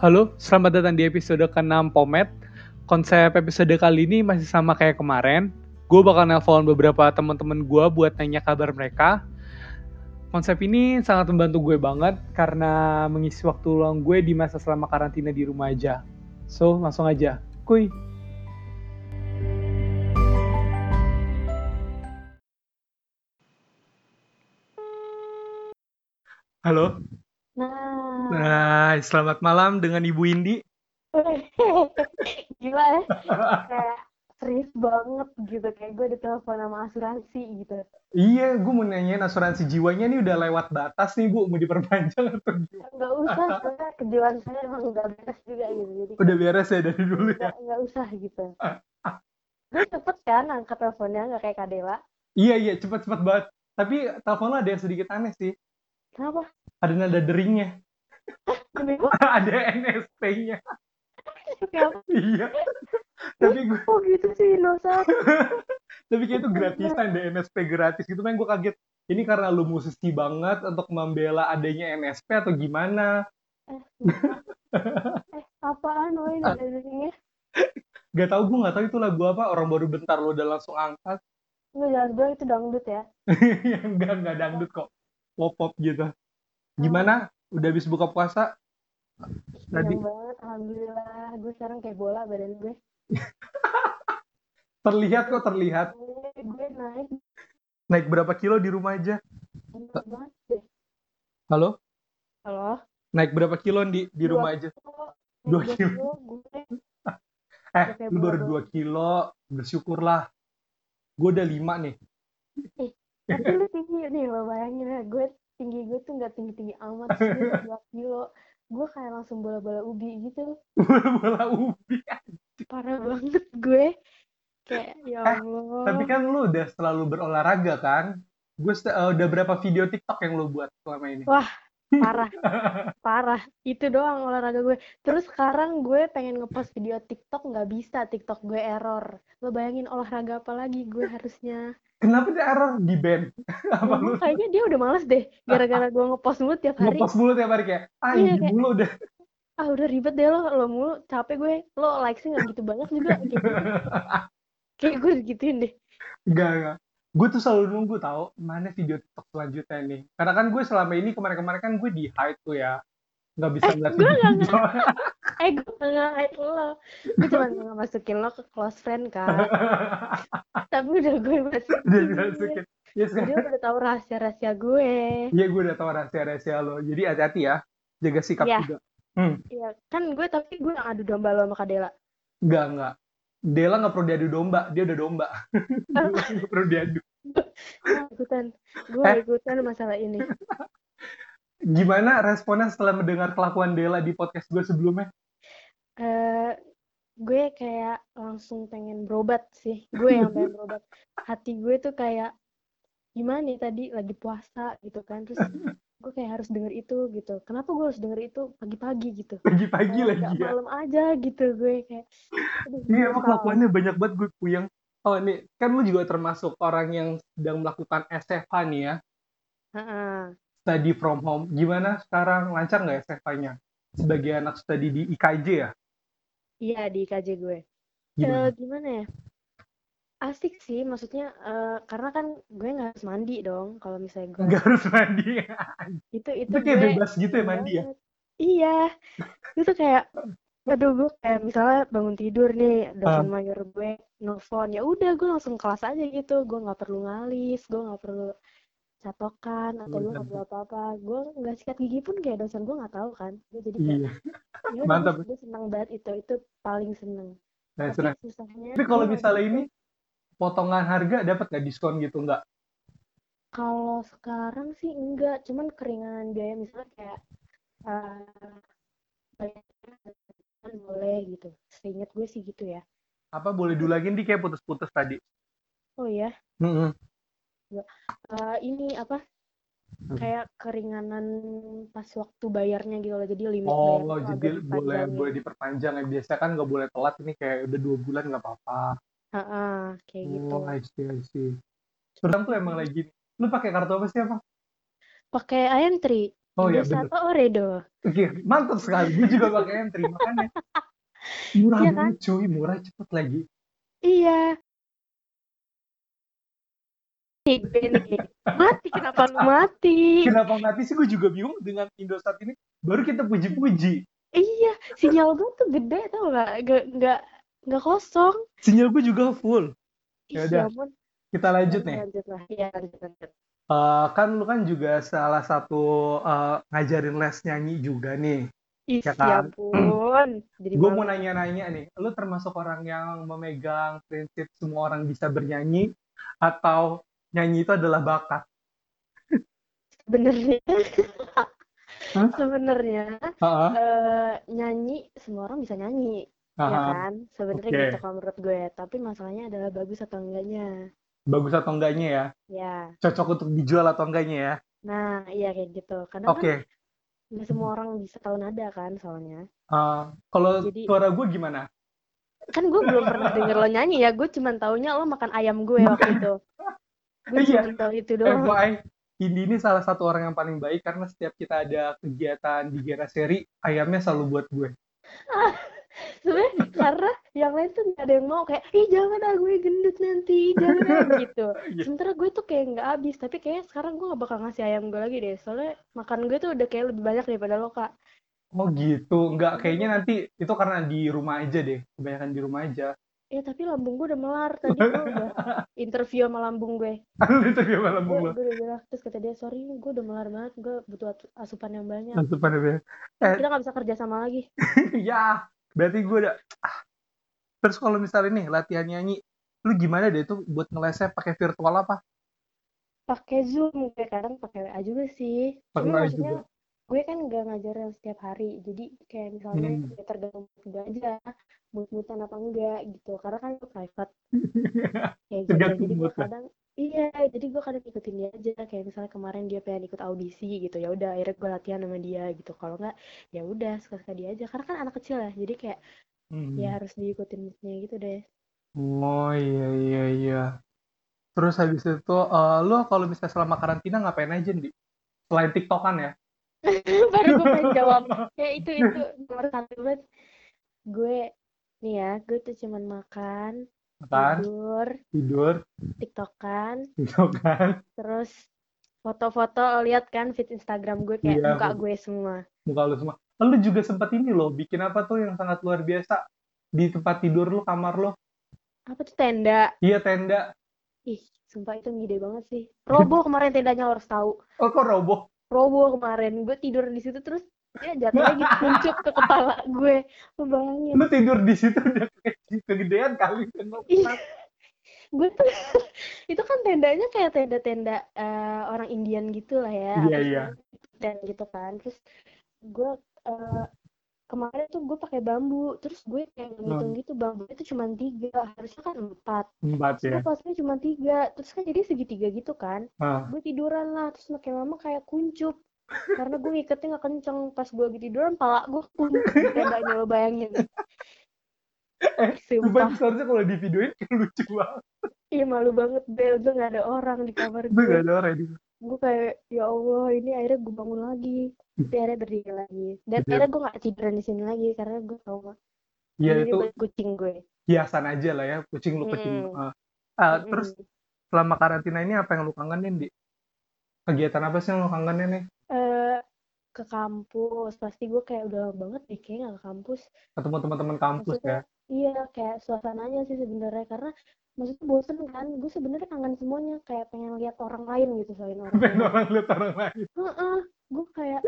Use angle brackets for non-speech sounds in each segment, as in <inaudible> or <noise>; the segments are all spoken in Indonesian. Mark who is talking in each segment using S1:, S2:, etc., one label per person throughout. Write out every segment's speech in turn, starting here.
S1: Halo, selamat datang di episode ke-6 Pomet. Konsep episode kali ini masih sama kayak kemarin. Gue bakal nelpon beberapa teman-teman gue buat nanya kabar mereka. Konsep ini sangat membantu gue banget karena mengisi waktu luang gue di masa selama karantina di rumah aja. So, langsung aja. Kuy. Halo.
S2: Nah,
S1: Nah, selamat malam dengan Ibu Indi.
S2: <laughs> gila
S1: <laughs>
S2: ya. kayak serius banget gitu kayak gue ditelepon sama asuransi gitu.
S1: Iya, gue mau nanyain asuransi jiwanya nih udah lewat batas nih, Bu. Mau diperpanjang atau <laughs> gimana?
S2: Enggak usah, karena kejiwaan saya emang enggak beres juga gitu. Jadi
S1: Udah beres ya dari dulu ya? Ah,
S2: enggak, enggak usah gitu. Gue cepet kan angkat teleponnya enggak kayak Kadela.
S1: Iya, iya. Cepet-cepet banget. Tapi telepon lo ada yang sedikit aneh sih.
S2: Kenapa?
S1: Ada nada deringnya. <laughs>
S2: Demi gue
S1: ada NST-nya.
S2: kenapa
S1: Iya. <laughs> Tapi gue,
S2: kok gitu sih Nosa?
S1: tapi kayak itu gratisan deh. NSP gratis gitu. Kan gue kaget. Ini karena lu musisi banget untuk membela adanya NSP atau gimana.
S2: Apaan
S1: Ah.
S2: lo ini ya? darinya?
S1: Gak tau, gue gak tau itu lagu apa. Orang baru bentar lo udah langsung angkat. <laughs>
S2: Gue jangan bilang itu dangdut ya.
S1: enggak enggak dangdut kok pop pop gitu gimana udah habis buka puasa tadi
S2: Senang banget, alhamdulillah. Gue sekarang kayak bola badan gue.
S1: terlihat kok terlihat
S2: Gue gue naik
S1: naik berapa kilo di rumah aja Ah.
S2: bener banget deh.
S1: halo
S2: Halo.
S1: naik berapa kilo di di
S2: Dua.
S1: rumah aja Dua
S2: dua kilo gue
S1: eh
S2: Oke,
S1: lu baru
S2: boleh.
S1: dua kilo bersyukurlah gue udah lima nih <laughs>
S2: tapi lu tinggi nih lo bayangin ya gue tinggi gue tuh nggak tinggi tinggi amat terus gue
S1: <laughs>
S2: dua kilo gue kayak langsung bola bola ubi gitu
S1: bola ubi
S2: parah
S1: <laughs>
S2: banget gue kayak ya allah
S1: tapi kan lu udah selalu berolahraga kan gue udah berapa video TikTok yang lu buat selama ini <laughs>
S2: parah parah itu doang olahraga gue terus sekarang gue pengen ngepost video tiktok nggak bisa tiktok gue error lo bayangin olahraga apa lagi gue harusnya
S1: kenapa dia error di band apa lu
S2: Emang kayaknya dia udah males deh gara-gara gue ngepost mulu tiap hari
S1: ngepost mulu tiap hari kayak ah
S2: Iya,
S1: ini
S2: kayak-
S1: mulu udah <laughs>
S2: ah udah ribet deh lo lo mulu capek gue lo likesnya nggak gitu banyak juga gitu. kayak gue digituin deh
S1: Enggak, enggak. Gue tuh selalu nunggu tahu mana video TikTok selanjutnya nih. Karena kan gue selama ini kemarin-kemarin kan gue di hide tuh ya. Nggak bisa
S2: Eh,
S1: ngeliat
S2: gue
S1: video. <laughs>
S2: nggak eh gue nggak like lo gue cuma nggak masukin lo ke close friend kan tapi udah gue masukin
S1: Dia bilang sedikit. Ya sekarang.
S2: dia udah tahu rahasia rahasia gue
S1: Iya gue udah tahu rahasia-rahasia lo. Jadi hati-hati ya. Jaga sikap
S2: Iya.
S1: juga.
S2: ya kan gue tapi gue yang adu domba lo sama Kadela
S1: Enggak, enggak. Dela nggak perlu diadu domba. Dia udah domba. <laughs> Dela nggak perlu diadu.
S2: gue Ah, ikutan gue
S1: Eh.
S2: ikutan masalah ini
S1: Gimana responnya setelah mendengar kelakuan Dela di podcast gue sebelumnya?
S2: eh gue kayak langsung pengen berobat sih gue yang
S1: <laughs>
S2: pengen berobat hati gue tuh kayak gimana nih tadi lagi puasa gitu kan terus gue kayak harus denger itu gitu kenapa gue harus denger itu pagi-pagi gitu
S1: Pagi-pagi
S2: Kayak
S1: lagi
S2: nggak
S1: ya.
S2: malam aja gitu gue kayak aduh, gue
S1: Iya, emang
S2: salah.
S1: kelakuannya banyak banget gue puyeng. Oh, nih, kan lu juga termasuk orang yang sedang melakukan SFH nih ya,
S2: Heeh.
S1: study from home. Gimana sekarang? Lancar nggak SFH-nya? Sebagai anak study di IKJ ya?
S2: iya di KJ gue Eh,
S1: Gimana?
S2: gimana ya asik sih maksudnya eh, karena kan gue nggak harus mandi dong kalau misalnya gue
S1: Nggak harus mandi ya?
S2: itu itu
S1: Itu kayak
S2: gue
S1: bebas gitu ya
S2: Iya
S1: mandi ya?
S2: banget. Iya. Itu kayak aduh gue kayak misalnya bangun tidur
S1: Ah.
S2: nih dosen mayor gue nelfon ya udah gue langsung kelas aja gitu gue nggak perlu ngalis gue nggak perlu catokan
S1: Oh,
S2: atau
S1: iya.
S2: gue nggak perlu apa apa gue nggak sikat gigi pun kayak dosen gue nggak tahu kan gue jadi kayak
S1: Iya.
S2: ya udah,
S1: Mantap.
S2: gue seneng banget itu itu paling seneng
S1: Nah,
S2: tapi
S1: senang.
S2: susahnya
S1: Tapi kalau
S2: iya,
S1: misalnya
S2: gitu.
S1: ini, potongan harga dapat nggak diskon gitu? Nggak?
S2: Kalau sekarang sih enggak, cuman keringanan biaya misalnya kayak eh, bayarnya kan boleh gitu. Seingat gue sih gitu ya.
S1: Apa boleh dulangin di kayak putus-putus tadi?
S2: Oh iya,
S1: Mm-mm.
S2: eh, ini apa?
S1: Hmm.
S2: Kayak keringanan pas waktu bayarnya gitu loh. Jadi limit
S1: Oh,
S2: bayarnya tuh agak ya.
S1: jadi boleh
S2: dipanjangin.
S1: boleh diperpanjang ya. Biasanya kan nggak boleh telat ini kayak udah dua bulan nggak apa-apa.
S2: Ha-ha, kayak gitu.
S1: Oh, I see, I see. Sekarang tuh emang lagi, lu pakai kartu apa sih apa?
S2: Pakai IM3.
S1: Oh iya
S2: Redo
S1: bener.
S2: Sato Oredo.
S1: Oke, mantap sekali. Gue juga pakai entry makanya. ya. Murah
S2: <laughs> Iya
S1: banget cuy, murah cepet lagi.
S2: Iya. Nih, gue nih. Mati, kenapa lu mati?
S1: Kenapa mati sih gue juga bingung dengan Indosat ini. Baru kita puji-puji.
S2: Iya, sinyal gue tuh gede tau gak? Gak, gak, gak kosong.
S1: Sinyal gue juga full. Ya
S2: Ih,
S1: udah,
S2: ampun.
S1: Kita lanjut nih.
S2: Lanjut lah. Iya, lanjut, lanjut.
S1: Eh, kan lu kan juga salah satu eh, ngajarin les nyanyi juga nih.
S2: Ih,
S1: Ya kan?
S2: ampun. Jadi
S1: Gue mau
S2: malu.
S1: nanya-nanya nih, lu termasuk orang yang memegang prinsip semua orang bisa bernyanyi atau nyanyi itu adalah bakat?
S2: Sebenarnya,
S1: Hah?
S2: sebenarnya
S1: Heeh.
S2: eh, nyanyi semua orang bisa nyanyi, ya
S1: Aha.
S2: kan? Sebenarnya
S1: Oke.
S2: gitu kalau menurut gue. Tapi masalahnya adalah bagus atau enggaknya.
S1: Bagus atau enggaknya ya?
S2: Ya,
S1: Cocok untuk dijual atau enggaknya ya?
S2: nah iya kayak gitu. Karena kan
S1: Oke.
S2: nggak semua orang bisa tahu nada kan soalnya.
S1: Eh, kalau
S2: Jadi-
S1: suara gue gimana?
S2: Kan gue belum pernah denger lo nyanyi ya, gue cuman taunya lo makan ayam gue waktu itu. Gue
S1: Iya.
S2: cuma tahu itu doang.
S1: FYI, Indi ini salah satu orang yang paling baik karena setiap kita ada kegiatan di Gera Seri, ayamnya selalu buat gue.
S2: Sebenernya karena yang lain tuh gak ada yang mau kayak, ih jangan ah gue gendut nanti, jangan
S1: <laughs>
S2: ah gitu.
S1: Iya.
S2: Sementara gue tuh kayak nggak habis, tapi kayak sekarang gue gak bakal ngasih ayam gue lagi deh. Soalnya makan gue tuh udah kayak lebih banyak daripada lo kak.
S1: Oh gitu, enggak kayaknya nanti itu karena di rumah aja deh, kebanyakan di rumah aja. <laughs>
S2: Ya tapi lambung gue udah melar tadi gue udah interview sama lambung gue.
S1: Itu gimana
S2: Gue,
S1: mulu?
S2: gue udah bilang terus kata dia sorry gue udah melar banget, gue butuh atu- asupan yang banyak.
S1: Langsung pada <laughs> bilang, Eh.
S2: Kita gak bisa kerja sama lagi.
S1: ya, berarti gue udah. ah. Terus kalau misalnya nih latihan nyanyi, lu gimana deh tuh buat ngelesnya pakai virtual apa?
S2: pakai Zoom gue kadang pakai WA juga sih
S1: Pakai WA
S2: Cuma maksudnya gue kan gak ngajar yang setiap hari jadi kayak misalnya
S1: Hmm.
S2: ya tergantung gue aja mut-mutan apa enggak gitu karena kan itu
S1: <laughs>
S2: private kayak gitu
S1: Tergantung
S2: jadi gue
S1: mood lah.
S2: kadang iya jadi gue kadang ikutin dia aja kayak misalnya kemarin dia pengen ikut audisi gitu ya udah akhirnya gue latihan sama dia gitu kalau enggak ya udah suka-suka dia aja karena kan anak kecil ya jadi kayak
S1: Hmm.
S2: ya harus diikutin moodnya gitu deh
S1: Oh iya iya iya. Terus habis itu eh, lu kalau misalnya selama karantina ngapain aja nih? Selain TikTokan ya?
S2: <laughs> baru gue pengen jawab ya itu itu nomor satu banget gue nih ya gue tuh cuman makan
S1: Kan
S2: tidur
S1: tidur, kan.
S2: tiktokan
S1: TikTokan,
S2: terus foto-foto lihat kan feed Instagram gue kayak
S1: Iya,
S2: muka
S1: Bu.
S2: gue semua
S1: muka lu semua. Lu juga sempat ini loh, bikin apa tuh yang sangat luar biasa di tempat tidur lu, kamar lu.
S2: apa tuh tenda
S1: Iya tenda.
S2: ih sumpah itu ngide banget sih roboh kemarin tendanya lo harus tahu
S1: Oh kok roboh?
S2: roboh kemarin gue tidur di situ terus dia jatuh lagi kuncup ke kepala gue Lu bayangin
S1: Lu tidur di situ udah kayak kegedean kali kan lu.
S2: Iya. gue tuh <laughs> itu kan tendanya kayak tenda-tenda eh, orang Indian gitu lah ya
S1: Iya,
S2: apa sih
S1: iya.
S2: namanya? dan gitu kan terus gue eh, kemarin tuh gue pakai bambu terus gue
S1: Oh.
S2: kayak ngitung gitu bambu itu cuma tiga harusnya kan empat
S1: Empat
S2: terus
S1: ya.
S2: gue pasnya cuma tiga terus kan jadi segitiga gitu kan
S1: Ah.
S2: gue tiduran lah terus makin lama kayak kuncup karena gue ngiketnya nggak kenceng pas gue lagi tiduran pala gue kuncup di tendanya lo bayangin
S1: Eh,
S2: Sumpah.
S1: Sumpah seharusnya kalau di videoin kayak lucu banget.
S2: Iya malu banget Bel, gue gak ada orang di kamar
S1: Gue
S2: gue.
S1: gak ada orang di
S2: Gue kayak ya Allah ini akhirnya gue bangun lagi. Tapi akhirnya berdiri lagi. Dan
S1: Iya.
S2: akhirnya gue gak tiduran di sini lagi karena gue tau
S1: Iya
S2: ini
S1: itu
S2: buat kucing gue.
S1: hiasan aja lah ya, kucing lu kucing. lu. Ah. Ah, terus
S2: Mm-mm.
S1: selama karantina ini apa yang lu kangenin, Di? Kegiatan apa sih yang lu kangenin nih?
S2: Eh, ke kampus pasti gue kayak udah lama banget deh kayaknya gak ke kampus.
S1: Ketemu teman-teman kampus
S2: Maksudnya,
S1: ya. <laughs>
S2: Iya kayak suasananya sih sebenarnya karena maksudnya bosen kan. Gue sebenarnya kangen semuanya kayak pengen lihat orang lain gitu selain orang
S1: Pengen
S2: lain.
S1: orang lihat orang lain.
S2: Heeh, gue kayak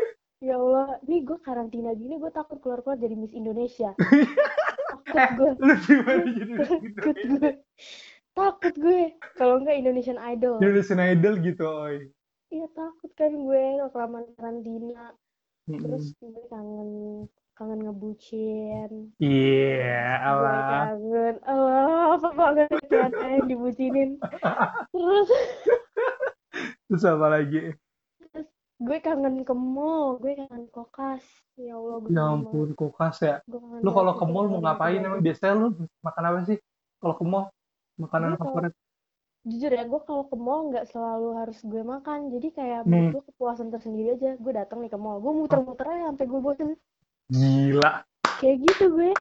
S2: ya Allah, nih gue karantina gini gue takut keluar-keluar jadi Miss Indonesia. takut gue,
S1: <laughs> Lu gimana jadi <laughs>
S2: takut gue, takut gue. Kalau enggak Indonesian Idol,
S1: Indonesian Idol gitu, oi.
S2: iya takut kan gue kelamaan karantina.
S1: Hmm. Mm-mm.
S2: Terus gue kangen kangen ngebucin.
S1: Iya,
S2: Gue
S1: Allah.
S2: kangen, Allah apa banget ya yang dibucinin. Terus
S1: Terus apa lagi? Ya
S2: gue kangen ke mall, gue kangen kokas. Ya Allah, gue
S1: Ya
S2: kangen banget.
S1: ampun, kulkas ya.
S2: Gue kangen
S1: Lu kalau
S2: banget
S1: ke
S2: gitu
S1: mall mau
S2: sama
S1: ngapain
S2: teman-teman.
S1: emang? Biasanya lu makan apa sih? Kalau ke mall, makanan
S2: Gua kalau-
S1: favorit.
S2: jujur ya gue kalau ke mall nggak selalu harus gue makan jadi kayak
S1: Hmm. Ah.
S2: buat gue kepuasan tersendiri aja gue datang nih ke mall gue muter-muter aja sampai gue bosen
S1: Gila.
S2: kayak gitu gue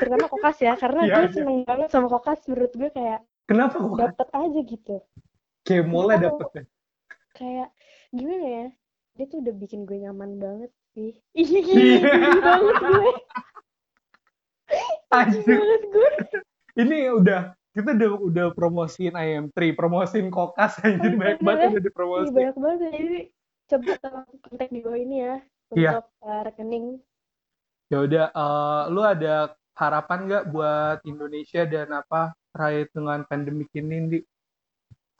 S2: terutama kokas ya karena
S1: Iya,
S2: gue
S1: iya.
S2: seneng banget sama kokas menurut gue kayak
S1: Kenapa kok
S2: dapet aja gitu
S1: kayak mulai
S2: Nggak tahu.
S1: dapet ya?
S2: kayak gimana ya dia tuh udah bikin gue nyaman banget sih <laughs> iya gini banget gue
S1: <laughs> Anjir.
S2: banget gue
S1: Ini udah kita udah udah promosiin IM3, promosiin kokas anjir
S2: Iya,
S1: banyak banget
S2: bener.
S1: udah
S2: Ih,
S1: dipromosi.
S2: banyak banget ya. jadi coba tolong kontak di bawah ini ya
S1: Iya.
S2: untuk uh, rekening
S1: Ya udah eh, lu ada harapan nggak buat Indonesia dan apa terkait dengan pandemik ini di
S2: Iya.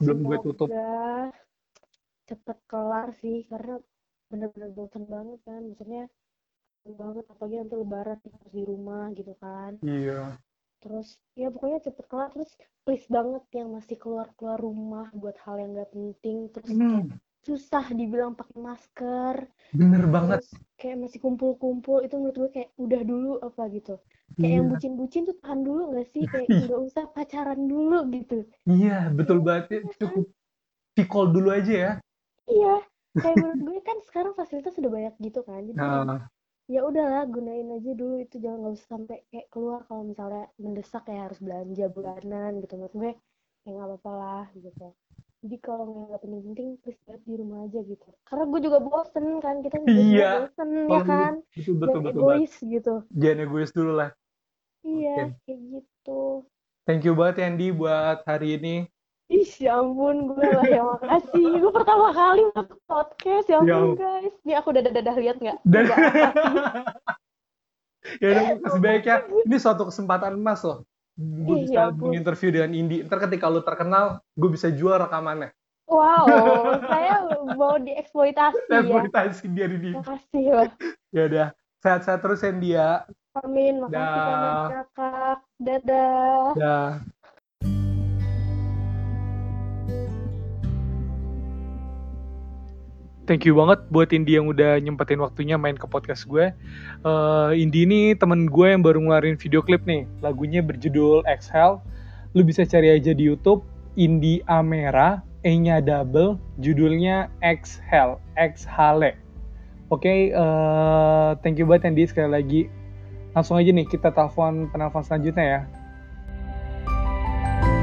S1: belum gue tutup.
S2: Semoga cepet kelar sih karena bener-bener bosan banget kan maksudnya bosen banget apalagi nanti lebaran harus di rumah gitu kan
S1: Iya.
S2: terus ya pokoknya cepet kelar terus please banget yang masih keluar keluar rumah buat hal yang gak penting terus kayak
S1: Hmm,
S2: susah dibilang pakai masker
S1: bener banget.
S2: terus kayak masih kumpul-kumpul itu menurut gue kayak udah dulu apa gitu kayak yang
S1: Iya,
S2: bucin-bucin tuh tahan dulu gak sih
S1: <laughs>
S2: kayak
S1: Ih.
S2: nggak usah pacaran dulu gitu
S1: iya, betul banget. Ya, Cukup pikol dulu aja ya.
S2: iya kayak menurut gue kan sekarang fasilitas udah banyak gitu kan jadi kayak
S1: Nah,
S2: ya udahlah gunain aja dulu itu jangan nggak usah sampai kayak keluar kalau misalnya mendesak kayak harus belanja bulanan gitu menurut gue ya nggak apa-apa lah gitu jadi kalau nggak nggak penting-penting please banget di rumah aja gitu karena gue juga bosen kan kita juga
S1: Iya.
S2: bosen ya
S1: Kalau
S2: kan
S1: betul betul
S2: jangan
S1: betul banget.
S2: egois gitu
S1: Jangan egois dulu lah.
S2: iya
S1: Oke.
S2: kayak gitu
S1: Thank you banget Andy buat hari ini.
S2: Ih, ya ampun, gue lah ya makasih. Gue pertama kali masuk podcast, ya
S1: Ya ampun.
S2: ampun guys. Nih aku udah dadah lihat nggak?
S1: Dan
S2: Coba.
S1: ya udah
S2: Eh,
S1: makasih banyak ya. Ini suatu kesempatan emas loh. Gue
S2: Iya,
S1: bisa
S2: Bu.
S1: menginterview dengan Indi. Ntar ketika lu terkenal, gue bisa jual rekamannya.
S2: Wow, saya mau
S1: Eh,
S2: dieksploitasi ya.
S1: Eksploitasi dia di dia.
S2: Makasih loh.
S1: Ya udah. Sehat-sehat terus Andy ya.
S2: Amin, makasih
S1: Dah.
S2: banyak kakak. Dadah.
S1: Dah. Thank you banget buat Indi yang udah nyempetin waktunya main ke podcast gue. Eh, Indi ini temen gue yang baru ngeluarin video klip nih. Lagunya berjudul Exhale. Lu bisa cari aja di Youtube. Indi Amera. E-nya double. Judulnya Exhale. Exhale. Oke, eh, thank you banget Indi sekali lagi. Langsung aja nih kita telepon penelpon selanjutnya ya.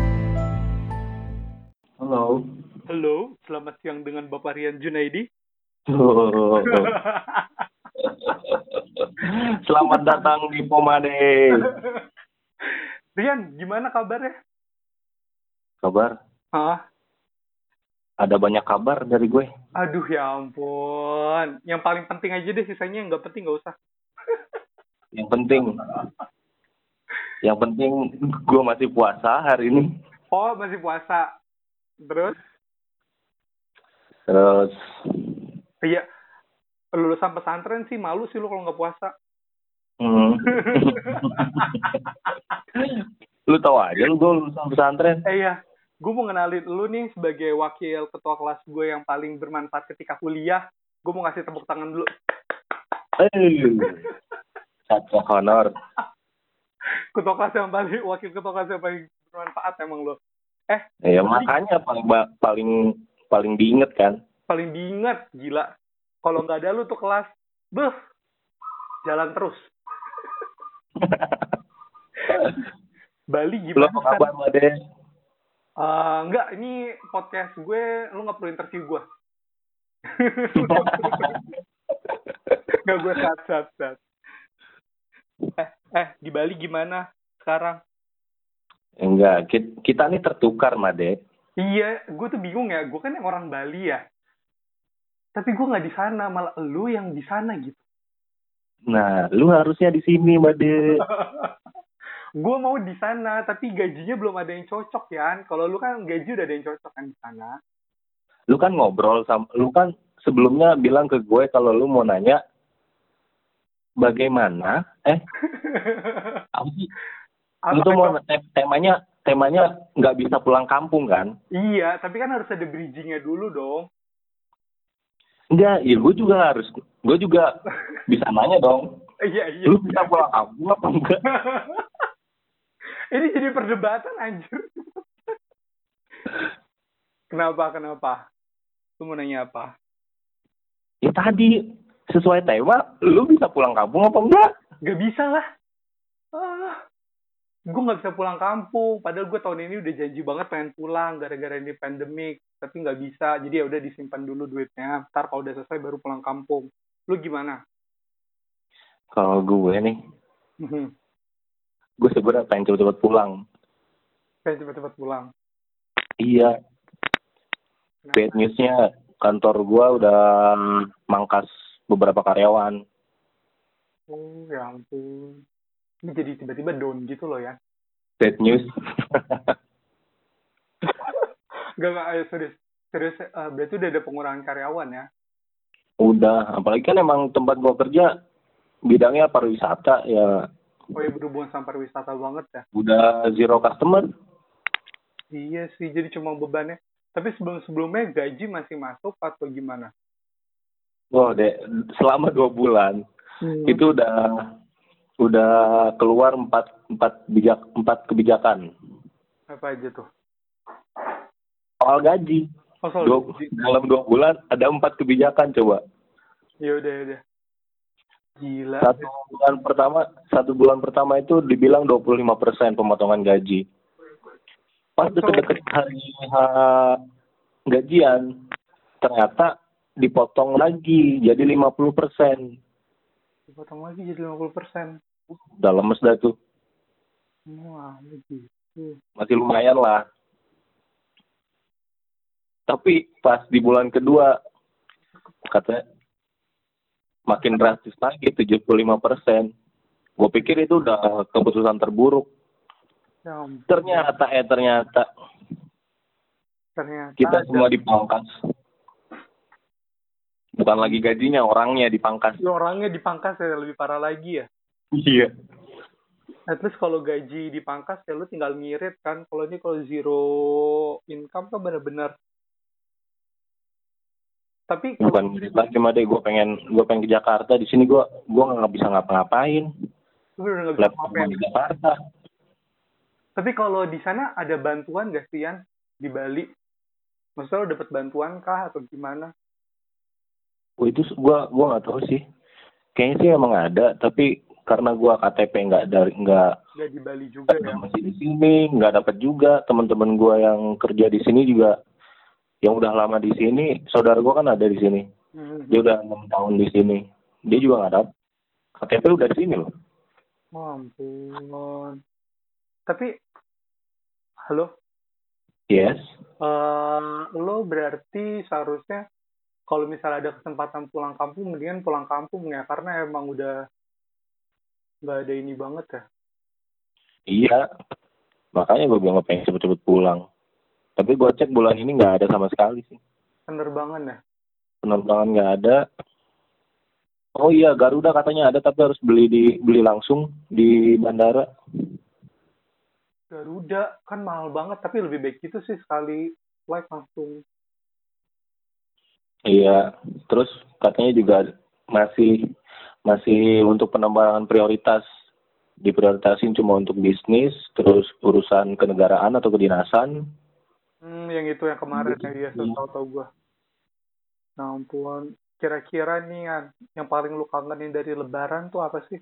S3: <laughs> Halo.
S1: Halo, selamat siang dengan Bapak Rian Junaidi.
S3: Selamat datang di Pomade.
S1: Rian, gimana kabarnya?
S3: Kabar?
S1: Hah?
S3: Ada banyak kabar dari gue.
S1: Aduh ya ampun. Yang paling penting aja deh, sisanya yang nggak penting nggak usah.
S3: Yang penting, yang penting gue masih puasa hari ini.
S1: Oh, masih puasa. Terus?
S3: Terus
S1: Iya. Lulusan pesantren sih malu sih lu kalau nggak puasa.
S3: hmm. <laughs> lu tahu aja lu gue lulusan pesantren.
S1: eh iya, gue mau ngenalin lu nih sebagai wakil ketua kelas gue yang paling bermanfaat ketika kuliah. Gue mau ngasih tepuk tangan dulu.
S3: Eh, Satu honor.
S1: Ketua kelas yang paling, wakil ketua kelas yang paling bermanfaat emang lo.
S3: Ya makanya paling ba- paling paling diinget kan.
S1: Paling diingat, gila. Kalau nggak ada lu tuh kelas, beh, jalan terus.
S3: <laughs>
S1: Bali
S3: lu
S1: gimana?
S3: apa kabar, Made?
S1: Eh, enggak, ini podcast gue, lu nggak perlu interview
S3: <laughs>
S1: gue. Nggak, gue sehat, sehat, sehat. Eh, eh, di Bali gimana sekarang?
S3: Enggak, ki- kita nih tertukar, Made.
S1: Iya, gue tuh bingung ya. Gue kan yang orang Bali ya. Tapi gue nggak di sana, malah lu yang di sana gitu.
S3: Nah, lu harusnya di sini, Made.
S1: gue mau di sana, tapi gajinya belum ada yang cocok ya. Kalau lu kan gaji udah ada yang cocok kan di
S3: <laughs>
S1: sana.
S3: Lu kan ngobrol sama lu kan sebelumnya bilang ke gue kalau lu mau nanya bagaimana eh apa sih? lu
S1: Apa- kan
S3: tuh mau te- temanya temanya nggak bisa pulang kampung kan?
S1: Iya, tapi kan harus ada bridgingnya dulu dong. <laughs>
S3: Enggak, ya gue juga harus gue juga bisa nanya dong.
S1: Iya, iya. <laughs>
S3: Lu bisa pulang kampung apa enggak?
S1: Ini jadi perdebatan anjir. <laughs> Kenapa? Kenapa? Lu mau nanya apa?
S3: Ya tadi sesuai tema, lu bisa pulang kampung apa enggak?
S1: Gak bisa lah. Ah, gue nggak bisa pulang kampung. Padahal gue tahun ini udah janji banget pengen pulang gara-gara ini pandemik. Tapi nggak bisa. Jadi ya udah disimpan dulu duitnya. Ntar kalau udah selesai baru pulang kampung. Lu gimana?
S3: Kalau gue nih,
S1: Mhm.
S3: gue sebenarnya pengen cepet-cepet pulang.
S1: Pengen cepet-cepet pulang. Nah,
S3: Iya,
S1: Kenapa?
S3: bad newsnya kantor gue udah mangkas beberapa karyawan.
S1: Oh, ya ampun. Ini jadi tiba-tiba down gitu loh ya.
S3: Bad news. <laughs>
S1: Gak, gak, ayo serius. Serius, eh, berarti udah ada pengurangan karyawan ya?
S3: udah, apalagi kan emang tempat gue kerja bidangnya pariwisata ya
S1: Oh ya berhubungan sama pariwisata banget ya.
S3: udah zero customer.
S1: Iya sih, jadi cuma bebannya. Tapi sebelum-sebelumnya gaji masih masuk atau gimana?
S3: Wah, dek, selama dua bulan itu udah udah keluar empat empat bijak empat kebijakan
S1: Apa aja tuh?
S3: soal gaji.
S1: Oh, soal
S3: Dua,
S1: gaji.
S3: dalam dua bulan ada empat kebijakan coba.
S1: Ya udah, ya udah. Gila.
S3: Satu bulan pertama satu bulan pertama itu dibilang 25 persen pemotongan gaji. Pas deket-deket hari H gajian ternyata dipotong lagi jadi 50 persen.
S1: Dipotong lagi jadi 50 persen.
S3: Udah lemes dah tuh.
S1: Wah, gitu.
S3: masih lumayan lah. Tapi pas di bulan kedua katanya makin drastis lagi 75 persen. Gue pikir itu udah keputusan terburuk.
S1: Ya ampun,
S3: Ternyata eh ternyata
S1: ternyata
S3: kita
S1: ada-
S3: semua dipangkas. Bukan lagi gajinya orangnya dipangkas.
S1: Ya, orangnya dipangkas ya lebih parah lagi ya.
S3: Iya.
S1: At least kalau gaji dipangkas ya lu tinggal ngirit kan. Kalau ini kalau zero income kan bener-bener. Tapi kalau-
S3: Bukan gitu lagi cuma deh gue pengen gue pengen ke Jakarta di sini gue gue nggak bisa ngapa-ngapain.
S1: Lu bener-bener nggak bisa
S3: Laptop
S1: ngapain.
S3: gua di Jakarta.
S1: Tapi kalau di sana ada bantuan gak sih Yan? Di Bali? Maksudnya lo dapet bantuan kah atau gimana?
S3: Oh, itu s- gua gua nggak tahu sih. Kayaknya sih emang ada, tapi karena gua KTP nggak dari nggak
S1: Gak di Bali juga
S3: nggak
S1: ya?
S3: masih di sini, nggak dapat juga teman-teman gua yang kerja di sini juga yang udah lama di sini, saudara gua kan ada di sini.
S1: Hmm.
S3: Dia udah enam tahun di sini. Dia juga nggak dapat. KTP udah di sini loh.
S1: Oh, ampun. Tapi, halo?
S3: Yes.
S1: Eh, lo berarti seharusnya kalau misalnya ada kesempatan pulang kampung, mendingan pulang kampung ya. Karena emang udah nggak ada ini banget ya.
S3: Iya. Makanya gua bilang gua pengen cepet-cepet pulang. Tapi gua cek bulan ini nggak ada sama sekali sih.
S1: Penerbangan ya.
S3: Penerbangan nggak ada. Oh iya, Garuda katanya ada tapi harus beli di beli langsung di bandara.
S1: Garuda kan mahal banget, tapi lebih baik itu sih sekali flight langsung.
S3: Iya, terus katanya juga masih masih untuk penambahan prioritas diprioritasin cuma untuk bisnis, terus urusan kenegaraan atau kedinasan.
S1: Hmm, yang itu yang kemarin ya, iya,
S3: Iya.
S1: tahu gua. Nah, ampun. Kira-kira nih, Yan, yang paling lu kangenin dari lebaran tuh apa sih?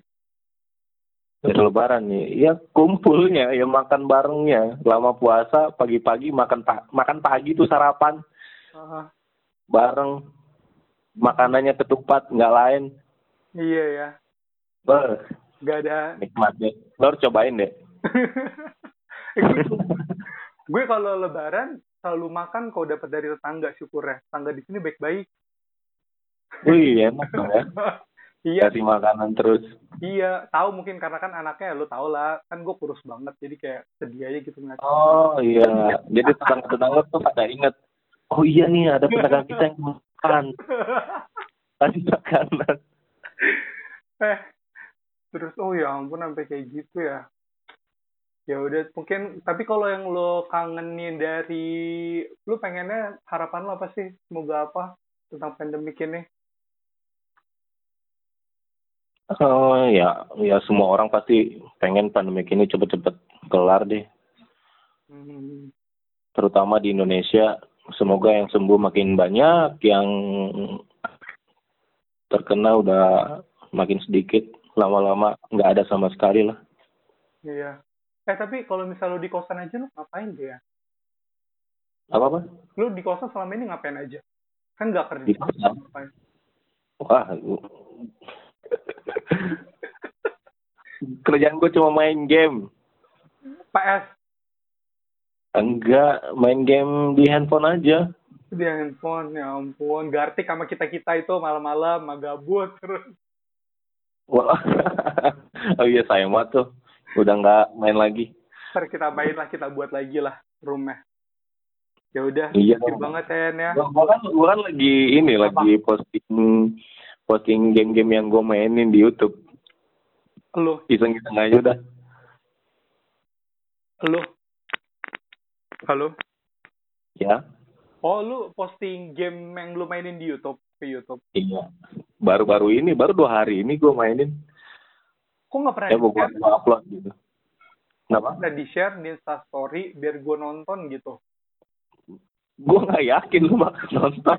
S3: Dari lebaran nih, ya kumpulnya, ya makan barengnya. Lama puasa, pagi-pagi makan pa- makan pagi tuh sarapan
S1: Ah,
S3: bareng. Makanannya ketupat, nggak lain.
S1: iya ya,
S3: Ber,
S1: gak ada <laughs>
S3: nikmat deh. Lo harus cobain deh.
S1: gue kalau lebaran selalu makan kalau dapat dari tetangga syukurnya tetangga di sini baik-baik
S3: Wih, enak dong ya.
S1: iya
S3: Kasih makanan terus.
S1: iya tahu mungkin karena kan anaknya lu tau lah kan gue kurus banget jadi kayak sedih aja gitu ngeliat
S3: Oh iya, jadi tetangga-tetangga tuh pada inget. Oh iya nih ada tetangga kita yang makan, kasih makanan.
S1: eh terus oh ya ampun sampai kayak gitu ya ya udah mungkin tapi kalau yang lo kangenin dari lu pengennya harapan lo apa sih semoga apa tentang pandemik ini
S3: Oh ya, ya semua orang pasti pengen pandemi ini cepet-cepet kelar deh.
S1: Hmm.
S3: terutama di Indonesia. Semoga yang sembuh makin banyak, yang terkena udah makin sedikit, lama-lama nggak ada sama sekali lah.
S1: Iya. Eh tapi kalau misal lu di kosan aja lu ngapain dia?
S3: Apa apa?
S1: Lu di kosan selama ini ngapain aja? Kan nggak kerja.
S3: Di kosan?
S1: Ngapain?
S3: Wah, gua- <laughs> kerjaan gue cuma main game.
S1: PS
S3: Enggak, main game di handphone aja.
S1: di handphone ya ampun gartik sama kita kita itu malam-malam sama gabut terus
S3: Wah, <laughs> oh iya sayang banget tuh. Udah nggak main lagi.
S1: ntar kita main lah kita buat lagi lah rumah ya udah
S3: Iya.
S1: thank you banget Hen ya
S3: Gua gua kan, gua kan lagi ini
S1: Apa?
S3: lagi posting posting game-game yang gue mainin di YouTube.
S1: lu
S3: Iseng-iseng aja udah.
S1: lu halo
S3: Ya,
S1: oh lu posting game yang lu mainin di YouTube ke YouTube
S3: iya. Baru-baru ini, baru dua hari ini gue mainin.
S1: kok nggak pernah
S3: Ya mau
S1: di
S3: gue upload gitu. Kenapa?
S1: di share di instastory biar gue nonton gitu
S3: Gue nggak yakin lu bakal nonton.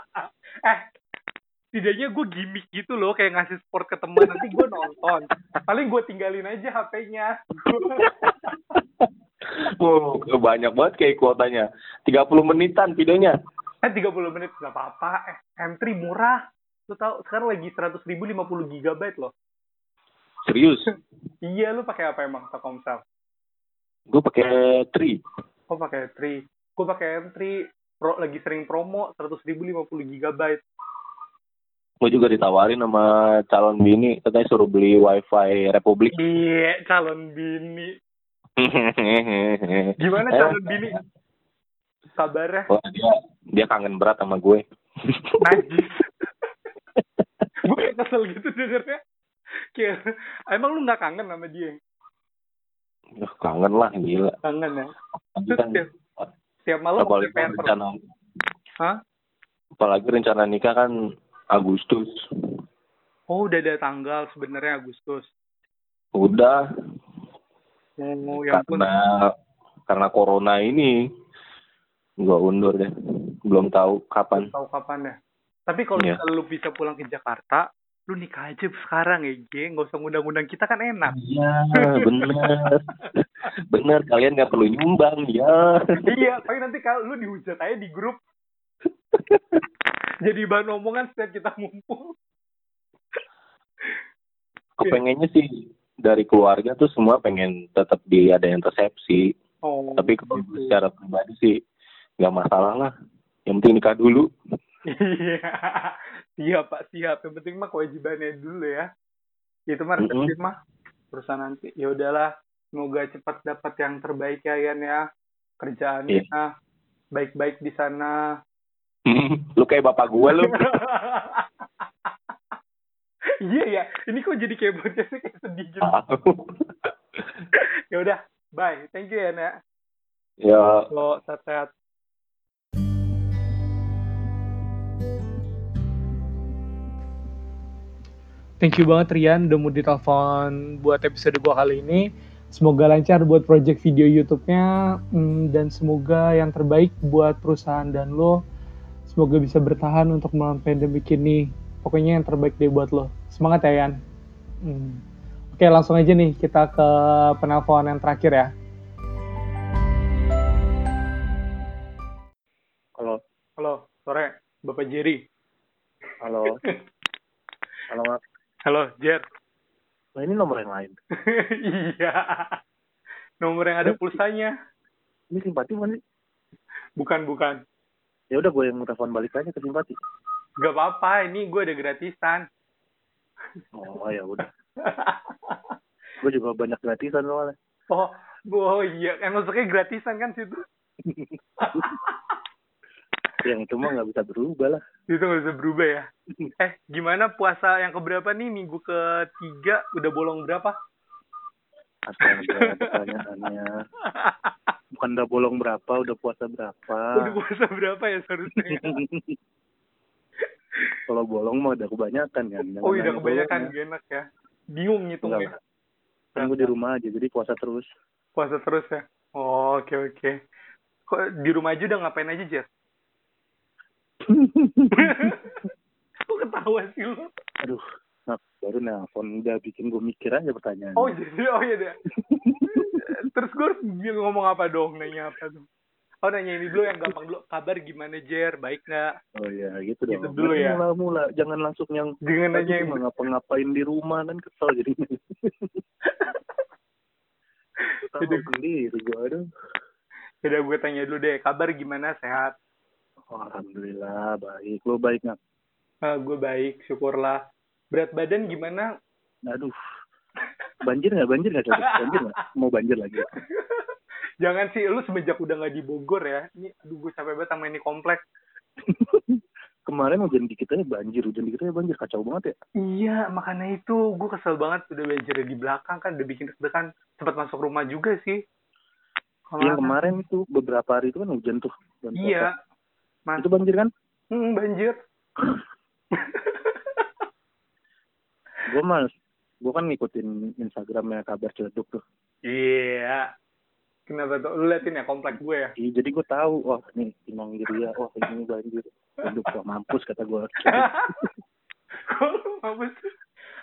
S1: <laughs> eh tidaknya gue gimmick gitu loh kayak ngasih support ke temen nanti gue nonton paling gue tinggalin aja HP-nya
S3: Wow, banyak banget kayak kuotanya. 30 menitan videonya.
S1: <laughs> eh 30 menit nggak apa-apa eh M3 murah lu tau sekarang lagi 100.000 ribu 50 gigabyte loh
S3: Serius.
S1: iya lu pakai apa emang Telkomsel
S3: Gue pakai tri.
S1: gue pakai 3 gue pakai M3 pro lagi sering promo 100.000 ribu 50 gigabyte
S3: Gue juga ditawarin sama calon bini, katanya suruh beli wifi Republik. <laughs>
S1: iya calon bini gimana
S3: Eh,
S1: calon bini ya. kabarnya
S3: Wah, dia, dia kangen berat sama gue.
S1: najis <laughs> gue kayak kesel gitu dengernya kayak emang lu nggak kangen sama dia
S3: Duh, kangen lah, gila.
S1: kangen ya terus
S3: Apalagi
S1: ya,
S3: kan-
S1: tiap, tiap malam
S3: apalagi
S1: pakai
S3: kan
S1: pamper.
S3: rencana,
S1: Hah?
S3: apalagi rencana nikah kan Agustus.
S1: oh udah ada tanggal sebenarnya Agustus
S3: Udah,
S1: oh ya ampun
S3: karena karena corona ini gue undur deh. Belum tahu kapan.
S1: tahu kapan ya tapi kalau
S3: Iya.
S1: misalnya lu bisa pulang ke Jakarta lu nikah aja sekarang ya Ge nggak usah ngundang-undang kita kan enak
S3: Iya, bener. bener, kalian nggak perlu nyumbang, ya.
S1: iya tapi nanti kalau lu dihujat aja di grup <laughs> jadi bahan omongan setiap kita ngumpul
S3: Kepengennya sih dari keluarga tuh semua pengen tetap di ada yang resepsi.
S1: oh
S3: Tapi kalau
S1: gitu.
S3: secara pribadi sih nggak masalah lah. Yang penting nikah dulu. <laughs>
S1: Iya, <laughs> siap Pak, siap. Yang penting mah kewajibannya dulu ya. Itu mah
S3: Mm-mm.
S1: reseptif mah urusan nanti. Ya udahlah, semoga cepat dapat yang terbaik ya Yan ya. Kerjaannya baik-baik di sana. <laughs>
S3: lu kayak bapak gue lu.
S1: Iya ya, ini kok jadi kayak podcastnya kayak sedih gitu.
S3: Tahu.
S1: Ya udah, bye. Thank you Yan ya.
S3: ya
S1: Lo sehat-sehat. Thank you banget Rian udah mau ditelepon buat episode gua kali ini. Semoga lancar buat project video YouTube-nya mm, dan semoga yang terbaik buat perusahaan dan lo. Semoga bisa bertahan untuk melawan pandemi ini. Pokoknya yang terbaik deh buat lo. Semangat ya Yan. Mm. Oke langsung aja nih kita ke penelpon yang terakhir ya.
S4: Halo,
S1: Halo, sore Bapak Jerry.
S4: halo, halo. Mas.
S1: Halo Jer. <laughs>
S4: Nah, ini nomor yang lain.
S1: iya. Nomor yang ada pulsanya.
S4: Ini simpati mana sih?
S1: Bukan, bukan.
S4: Ya udah gue yang telepon balik aja ke simpati.
S1: Gak apa-apa, ini gue ada gratisan. <laughs>
S4: Oh ya udah. Gue juga banyak gratisan soalnya.
S1: oh, oh iya. Kan maksudnya gratisan kan situ.
S4: Yang itu mah nggak bisa berubah lah.
S1: Itu gak bisa berubah ya. Eh, gimana puasa yang keberapa nih? Minggu ketiga udah bolong berapa?
S4: Astaga, pertanyaannya. Bukan udah bolong berapa, udah puasa berapa.
S3: Ah.
S1: Udah puasa berapa ya seharusnya? ya?
S3: <laughs>
S4: Kalau bolong mah udah kebanyakan kan. Jangan
S1: oh, iya,
S4: nanya
S1: udah kebanyakan.
S4: bolongnya.
S1: Gak enak ya. Bingung ya. ngitungnya.
S4: Enggak. Kan gue di rumah aja, jadi puasa terus.
S1: Puasa terus ya. Oh, oke, oke. Kok di rumah aja udah ngapain aja,
S4: <laughs>
S1: Jeff? Kok ketawa sih lu?
S4: Aduh, nah, baru nelpon udah bikin gue mikir aja pertanyaan.
S1: Oh, jadi oh iya
S4: <laughs>
S1: deh. Terus gue harus ngomong apa dong? Nanya apa dong? Oh, nanya ini dulu yang gampang dulu. Kabar gimana, Jer? Baik nggak?
S4: Oh iya, gitu,
S1: Gitu
S4: dong.
S1: dulu ya.
S4: Mula mula, jangan langsung yang
S1: Jangan nanya yang
S4: "Aduh, gua ngapa-ngapain di rumah kan kesel jadinya. Tahu
S1: Aduh.
S4: sendiri gue aduh.
S1: Udah gue tanya dulu deh, kabar gimana? Sehat?
S4: Alhamdulillah baik. Lo baik nggak?
S1: Eh, gue baik, syukurlah. Berat badan gimana?
S4: Aduh. Banjir nggak? Banjir nggak? Cocok? <laughs> Banjir nggak? Mau banjir lagi? <laughs>
S1: <laughs> Jangan sih, lu semenjak udah nggak di Bogor ya. Ini, aduh gue capek banget sama ini komplek.
S4: Kemarin hujan dikit aja banjir, hujan dikit aja banjir kacau banget ya.
S1: Iya, makanya itu gue kesel banget udah belajar di belakang kan, udah bikin deg-degan. Sempat masuk rumah juga sih.
S4: Iya kemarin itu beberapa hari itu kan hujan tuh. Hujan
S1: Iya,
S4: kota. Itu banjir kan?
S1: Hmm, banjir. <laughs>
S4: Gue males. Gue kan ngikutin Instagramnya kabar celeduk tuh.
S1: Iya. Kenapa tuh? Lu liatin ya komplek gue ya. <laughs>
S4: Iya, jadi gue tahu, wah nih Imam Giria, wah ini banjir. Aduh, wah mampus kata gue. <laughs>
S1: Kok lu mampus?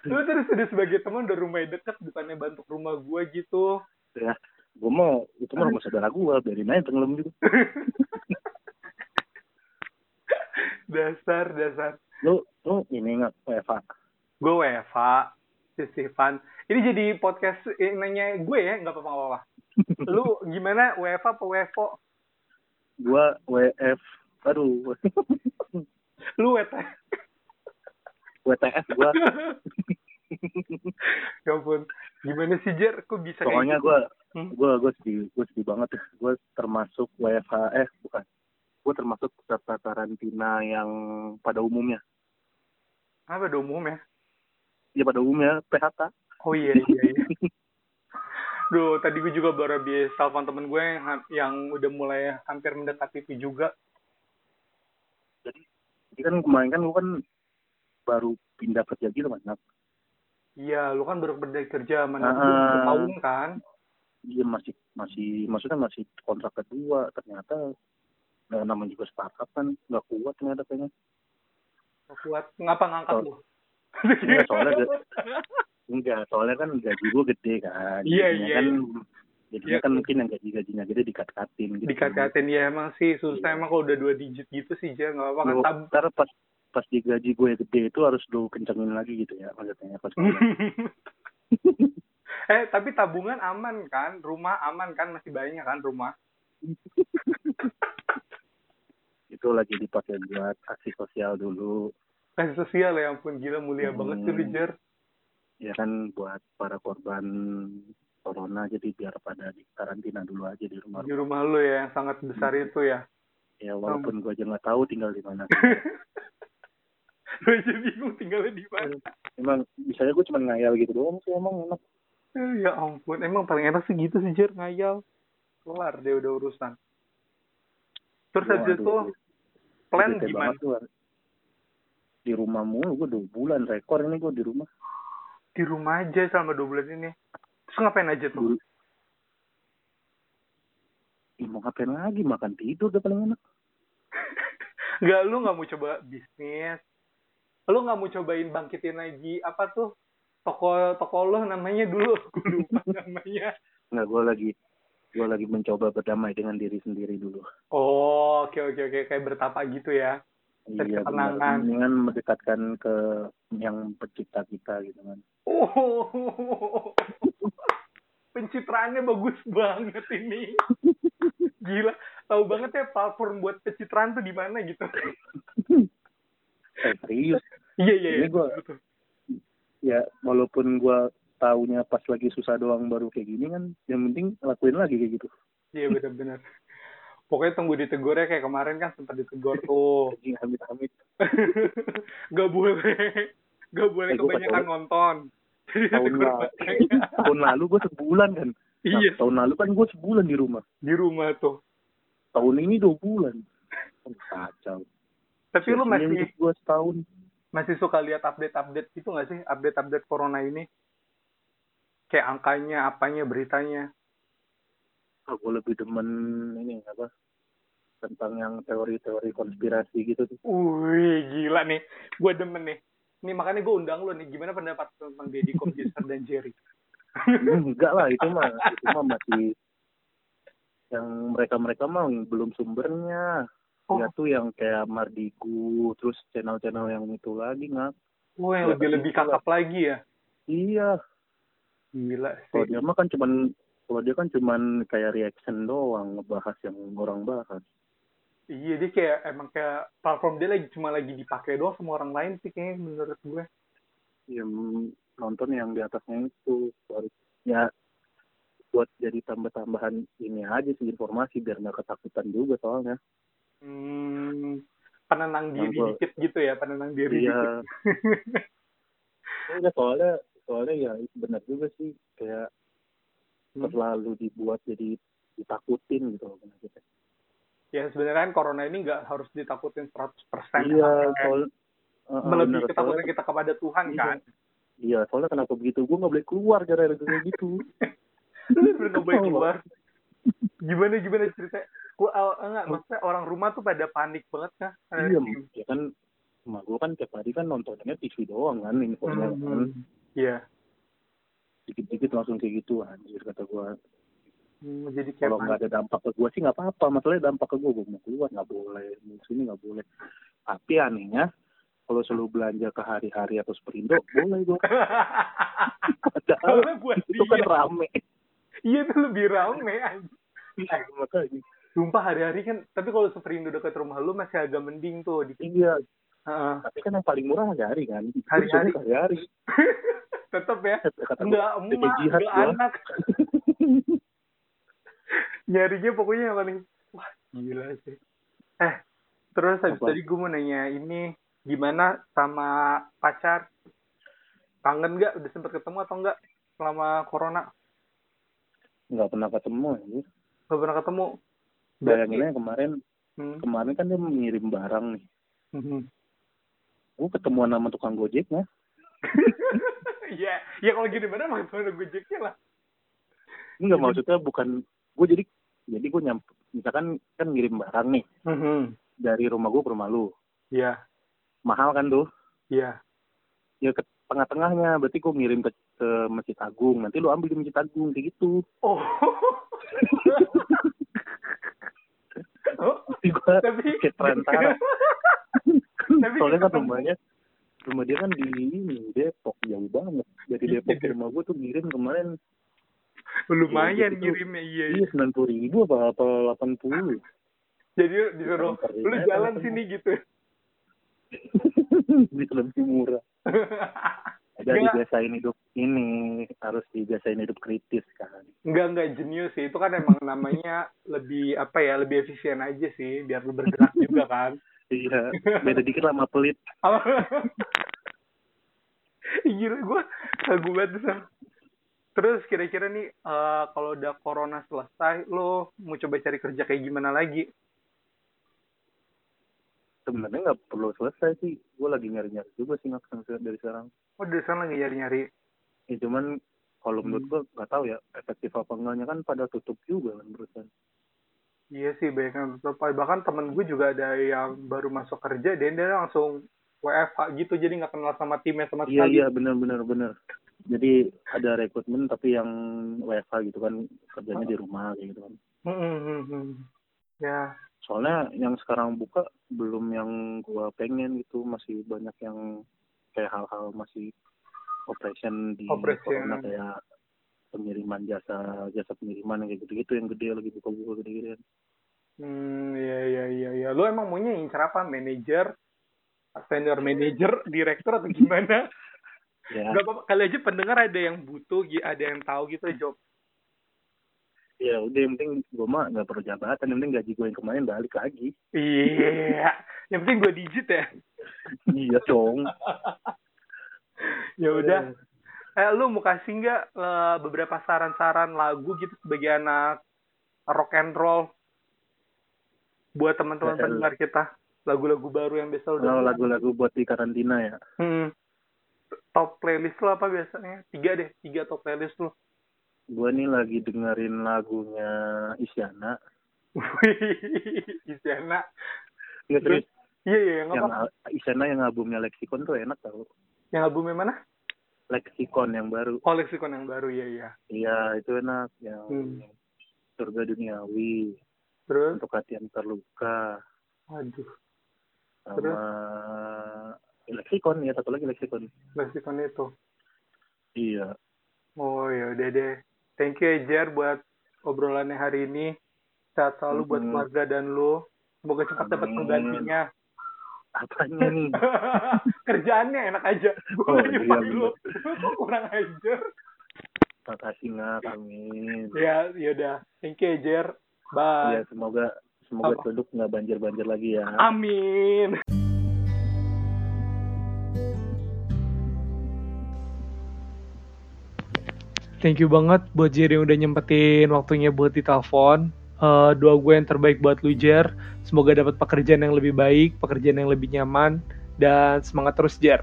S1: Lu terus udah sebagai teman udah rumah deket, bukannya bantu rumah gue gitu.
S4: Gue ya. mau, itu mah rumah saudara gue, biarin aja tenggelam gitu.
S1: <laughs> dasar, dasar.
S4: Lu, lu ini nggak WFA?
S1: Gue Weva, si Stefan. Ini jadi podcast eh, nanya gue ya, nggak apa-apa. Lu gimana Weva apa Wevo?
S4: Gue WF, aduh, <laughs>
S1: Lu Weta.
S4: WTF gue.
S1: ya ampun. Gimana sih Jer? Kok bisa kayak
S4: Pokoknya
S1: gitu?
S4: gue,
S1: Hmm.
S4: gue gue sedih, gue sedih banget. Gue termasuk WFA, eh bukan, gue termasuk peserta karantina yang pada umumnya.
S1: Apa ada umum ya?
S4: Ya pada umumnya PHK.
S1: Oh iya, iya, iya. Duh, tadi gue juga baru habis telepon temen gue yang, yang udah mulai hampir mendekati itu juga.
S4: Jadi kan kemarin kan gue kan baru pindah kerja gitu kan. Nah,
S1: Iya, lu kan baru berdaya kerja mana
S4: Ah.
S1: belum setahun kan?
S4: Iya masih masih maksudnya masih kontrak kedua ternyata nah, namanya juga startup kan nggak kuat ternyata kayaknya
S1: Nggak Kuat. Ngapa ngangkat lu?
S4: Iya, soalnya gue- enggak soalnya kan gaji gue gede kan
S1: Iya,
S4: Jadinya
S1: iya,
S4: kan jadinya
S1: Iya.
S4: kan mungkin yang gaji gajinya gede dikat-katin gitu
S1: Dikat-katin ya emang sih susah emang kalau udah dua digit gitu sih Jer, nggak apa-apa kan
S4: Lu-
S1: tab. <laughs>
S4: ntar pas pas di gaji gue yang gede itu harus lu kencengin lagi gitu ya maksudnya pas
S1: <laughs>
S4: gue-
S1: eh tapi tabungan aman kan, rumah aman kan masih banyak kan rumah.
S4: itu lagi dipakai buat aksi sosial dulu
S1: Kasih sosial ya ampun gila mulia
S4: Hmm.
S1: banget tuh lu, Jer.
S4: ya kan buat para korban corona jadi biar pada di karantina dulu aja di rumah
S1: di rumah lu ya yang sangat besar
S4: Hmm.
S1: itu ya. <laughs>
S4: ya walaupun gue aja nggak tahu tinggal di mana
S1: Lu aja bingung tinggalnya di mana.
S4: emang misalnya gue cuma ngayal gitu doang sih emang enak
S1: Eh, Ya ampun, emang paling enak sih gitu sih Jer, ngayal. Kelar deh udah urusan. Terus
S4: Waduh,
S1: habis itu plan
S4: bete
S1: gimana?
S4: banget gua. di rumah mulu gue dua bulan rekor ini gue di rumah
S1: Di rumah aja selama dua bulan ini. Terus ngapain aja tuh?
S4: dulu Ih, mau ngapain lagi makan tidur udah paling enak
S1: Enggak, lu <laughs> nggak mau coba bisnis. Lu nggak mau cobain bangkitin lagi apa tuh? Toko toko lo namanya dulu <laughs> Gua lupa namanya.
S4: nggak gue lagi gue lagi mencoba berdamai dengan diri sendiri dulu
S1: Oh, oke oke oke kayak bertapa gitu ya. Cari
S4: iya benar
S1: ketenangan.
S4: mendingan mendekatkan ke yang pencipta kita gitu kan
S1: Oh, <laughs> pencitraannya bagus banget ini.
S4: <laughs>
S1: Gila, tahu banget ya platform buat pencitraan tuh di mana gitu. <laughs>
S4: eh, serius
S1: Iya iya. iya.
S4: Ini gua-
S1: Betul.
S4: ya walaupun gue taunya pas lagi susah doang baru kayak gini kan yang penting lakuin lagi kayak gitu
S1: Iya benar-benar. Pokoknya tunggu ditegurnya kayak kemarin kan sempat ditegur tuh. <laughs>
S4: Anjing, amit-amit
S1: gak boleh, gak boleh
S4: Eh, gua
S1: kebanyakan
S4: ketawa.
S1: nonton. <laughs> Jadi
S4: tahun
S1: ditegur
S4: lalu
S1: <laughs> banyak.
S4: tahun lalu gue sebulan kan Nah,
S1: Iya,
S4: tahun lalu kan gue sebulan di rumah
S1: di rumah tuh.
S4: tahun ini dua bulan Oh, kacau
S1: Tapi
S4: Ya, iya,
S1: lu masih
S4: gue setahun
S1: masih suka lihat update-update itu nggak sih update-update corona ini kayak angkanya apanya beritanya
S4: gue lebih demen ini apa tentang yang teori-teori konspirasi gitu
S1: <laughs>
S4: tuh.
S1: Wih, gila nih. Gue demen nih. Nih makanya gue undang lo nih. Gimana pendapat lo tentang Deddy Komputer dan Jerry?
S4: Hmm, enggak lah itu mah itu mah masih yang mereka-mereka mah belum sumbernya.
S1: Oh.
S4: Ya tuh yang kayak Mardigu, terus channel-channel yang itu lagi nggak?
S1: Wah, yang lebih lebih kakap lagi ya.
S4: Iya,
S1: Gila
S4: kalau
S1: sih.
S4: dia mah kan cuman kalau dia kan cuman kayak reaction doang ngebahas yang orang bahas.
S1: Iya, dia kayak emang kayak platform dia lagi cuma lagi dipakai doang sama orang lain sih kayaknya menurut gue.
S4: yang nonton yang di atasnya itu baru ya buat jadi tambah-tambahan ini aja sih informasi biar nggak ketakutan juga soalnya
S1: Hmm, penenang diri
S4: Yang gua-
S1: dikit gitu ya, penenang diri dikit.
S4: iya Iya, soalnya soalnya ya benar juga sih kayak
S1: Hmm.
S4: terlalu dibuat jadi ditakutin gitu loh maksudnya.
S1: Ya sebenarnya kan corona ini nggak harus ditakutin 100%
S4: iya
S1: Kayak
S4: soal Heeh, bener,
S1: melebihi
S4: soalnya-
S1: ketakutan kita kepada Tuhan
S4: Iya.
S1: kan. <laughs>
S4: iya soalnya kenapa begitu gue nggak boleh keluar gara-gara kayak gitu
S1: Lu <laughs> bener nggak
S4: <laughs>
S1: boleh
S4: Tau, Pak.
S1: keluar. Gimana gimana ceritanya? Gua aw- enggak, maksudnya orang rumah tuh pada panik banget kan.
S4: iya ya kan emak gue kan tiap hari kan nontonnya TV doang kan infonya
S1: Hmm,
S4: kan
S1: Iya.
S4: dikit-dikit langsung kayak gitu anjir kata gua
S1: Hmm, jadi kayak
S4: kalau nggak ada dampak ke gua sih nggak apa-apa masalahnya dampak ke gua gua mau keluar nggak boleh mau sini nggak boleh tapi anehnya kalau selalu belanja ke hari-hari atau Superindo boleh gua <laughs>
S1: <laughs> panik.
S4: padahal
S1: Kalau buat
S4: itu kan
S1: dia,
S4: rame
S1: iya itu lebih rame. anjing.
S4: Iya, makanya
S1: Sumpah hari-hari kan, tapi kalau Superindo dekat rumah lu masih agak mending tuh. Di,
S4: iya
S1: Heeh.
S4: tapi kan yang paling murah hari-hari kan
S1: Hari-hari.
S4: Itu hari-hari
S1: <laughs> Tetep ya,
S4: kata gua
S1: nggak
S4: jadi
S1: emak,
S4: jihad
S1: nggak
S4: gua. <laughs>
S1: anak. Nyarinya pokoknya yang paling, wah gila sih. Eh, terus habis
S4: Apa?
S1: tadi gue mau nanya ini, gimana sama pacar? Kangen nggak? Udah sempet ketemu atau nggak selama corona?
S4: nggak pernah ketemu anjir
S1: Gak pernah ketemu.
S4: bayanginnya kemarin
S1: Hmm.
S4: kemarin kan dia mengirim barang nih
S1: Mhm.
S4: gua ketemuan sama tukang gojeknya
S1: <laughs> Iya, ya kalau gini mana mah gimana gojeknya lah.
S4: Enggak maksudnya bukan gue jadi jadi gue nyampe misalkan kan ngirim barang nih Mhm. dari rumah gue ke rumah lu
S1: Iya,
S4: mahal kan tuh
S1: iya.
S4: ya ke tengah-tengahnya berarti gue ngirim ke, ke masjid agung nanti lu ambil di masjid agung kayak gitu
S1: Oh. Oh,
S4: Tapi gua
S1: <laughs> tapi
S4: kayak perantara
S1: Tapi
S4: soalnya <laughs> kan
S1: ketemu.
S4: rumahnya rumah dia kan di ini Depok jauh banget dari Depok ke rumah gue tuh ngirim kemarin
S1: lumayan
S4: Gitu.
S1: ngirimnya iya. iya.
S4: iya sembilan puluh ribu apa apa delapan puluh <laughs>
S1: Jadi disuruh lu jalan sini gitu. <laughs>
S4: bisa lebih murah ada
S1: Enggak.
S4: dibiasain hidup ini harus dibiasain hidup kritis kan
S1: Enggak enggak jenius sih. Itu kan emang namanya lebih apa ya, lebih efisien aja sih biar lu bergerak juga kan. <laughs>
S4: Iya, beda dikit lah sama pelit.
S1: Gila gue lagu banget tuh, Sam. Terus kira-kira nih eh, kalau udah corona selesai lo mau coba cari kerja kayak gimana lagi?
S4: Sebenarnya nggak perlu selesai sih. Gue lagi nyari-nyari juga sih ngaksen dari sekarang.
S1: Oh dari sana lagi nyari-nyari.
S4: Ya cuman kalau menurut gue nggak tahu ya efektif apa enggaknya kan pada tutup juga kan berusaha.
S1: Iya sih banyak yang tutup. Bahkan temen gue juga ada yang baru masuk kerja dan dia langsung WFH gitu jadi nggak kenal sama timnya sama
S4: Iya
S1: sekali.
S4: iya benar benar benar. Jadi ada rekrutmen tapi yang WFH gitu kan kerjanya di rumah kayak gitu kan.
S1: Hmm, hmm, hmm, hmm. Ya
S4: Soalnya yang sekarang buka belum yang gua pengen gitu masih banyak yang kayak hal-hal masih operation di
S1: Operation.
S4: corona kayak pengiriman jasa jasa pengiriman kayak gitu-gitu yang gede lagi buka-buka gede-gede.
S1: Hmm, iya, iya, iya, iya. Lo emang maunya incar apa? Manager? Senior manager? Direktur atau
S4: <laughs>
S1: gimana?
S4: Ya,
S1: Gak apa-apa. Kali aja pendengar ada yang butuh, gi- ada yang tahu gitu
S4: <laughs>
S1: job.
S4: ya udah yang penting gua mah nggak perlu jabatan, yang penting gaji gua yang kemarin balik lagi.
S1: Iya. Yang penting gue digit ya.
S4: <laughs> iya dong.
S1: Ya udah. Eh, lu mau kasih nggak eh, beberapa saran-saran lagu gitu sebagai anak rock and roll buat teman-teman
S4: Rock and
S1: pendengar kita? Lagu-lagu baru yang biasa lu
S4: Kalau
S1: dengar.
S4: lagu-lagu buat di karantina ya.
S1: Hmm. Top playlist lo apa biasanya? Tiga deh, tiga <laughs> top playlist lo.
S4: Gua nih lagi dengerin lagunya Isyana
S5: Isyana.
S4: Nggak serius.
S5: Iya, iya, nggak
S4: Yang
S5: apa.
S4: al- Isyana yang albumnya Lexicon tuh enak tau.
S5: Yang albumnya mana?
S4: Lexicon yang baru.
S5: Oh, Lexicon yang baru, iya, iya.
S4: Iya, itu enak. Yang
S5: Hmm.
S4: Surga Duniawi.
S5: Terus,
S4: Untuk hati yang terluka.
S5: aduh,
S4: Sama... Lexicon, ya satu lagi Lexicon.
S5: Lexicon itu.
S4: Iya.
S5: Oh, ya udah deh. Thank you, ya, Jer, buat obrolannya hari ini. Sehat selalu buat
S4: Mhm.
S5: keluarga dan lu. Semoga cepat dapat
S4: Amin.
S5: penggantinya. <laughs>
S4: Apanya <laughs> nih?
S5: Kerjaannya enak aja.
S4: Oh,
S5: Bukan
S4: iya,
S5: dipanggil lu. Lu kok <laughs> kurang ajar.
S4: Makasih nggak, amin.
S5: Ya, ya udah. Thank you, Jer.
S4: Ya,
S5: Bye.
S4: semoga semoga
S5: Apa?
S4: Teluk nggak banjir-banjir lagi ya.
S5: Amin.
S1: Thank you banget buat Jer yang udah nyempetin waktunya buat ditelepon. Eh doa gue yang terbaik buat lu Jer. Semoga dapat pekerjaan yang lebih baik, pekerjaan yang lebih nyaman, dan semangat terus Jer.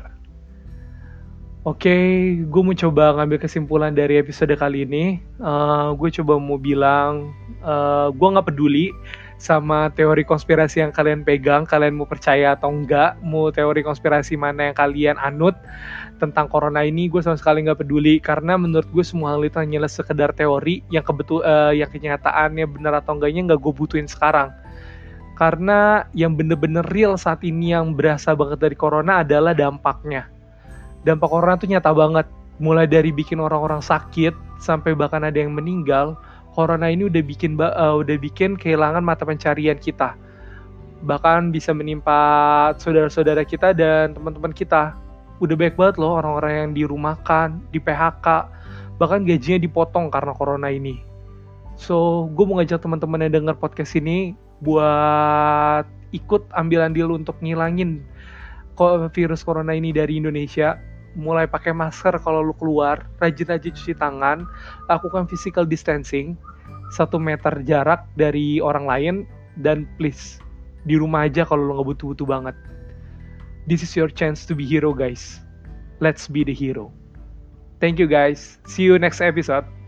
S1: Oke, gue mau coba ngambil kesimpulan dari episode kali ini. Eh gue coba mau bilang, eh gue nggak peduli sama teori konspirasi yang kalian pegang, kalian mau percaya atau enggak, mau teori konspirasi mana yang kalian anut, tentang corona ini gue sama sekali nggak peduli karena menurut gue semua hal itu hanyalah sekedar teori yang kebetul eh, yang kenyataannya benar atau enggaknya nggak gue butuhin sekarang karena yang bener-bener real saat ini yang berasa banget dari corona adalah dampaknya dampak corona tuh nyata banget mulai dari bikin orang-orang sakit sampai bahkan ada yang meninggal corona ini udah bikin ba- eh, udah bikin kehilangan mata pencarian kita bahkan bisa menimpa saudara-saudara kita dan teman-teman kita udah banyak banget loh orang-orang yang dirumahkan, di PHK, bahkan gajinya dipotong karena corona ini. So, gue mau ngajak teman-teman yang denger podcast ini buat ikut ambil andil untuk ngilangin ko- virus corona ini dari Indonesia. Mulai pakai masker kalau lu keluar, rajin-rajin cuci tangan, lakukan physical distancing, satu meter jarak dari orang lain, dan please, di rumah aja kalau lu nggak butuh-butuh banget. This is your chance to be hero, guys. Let's be the hero. Thank you, guys. See you next episode.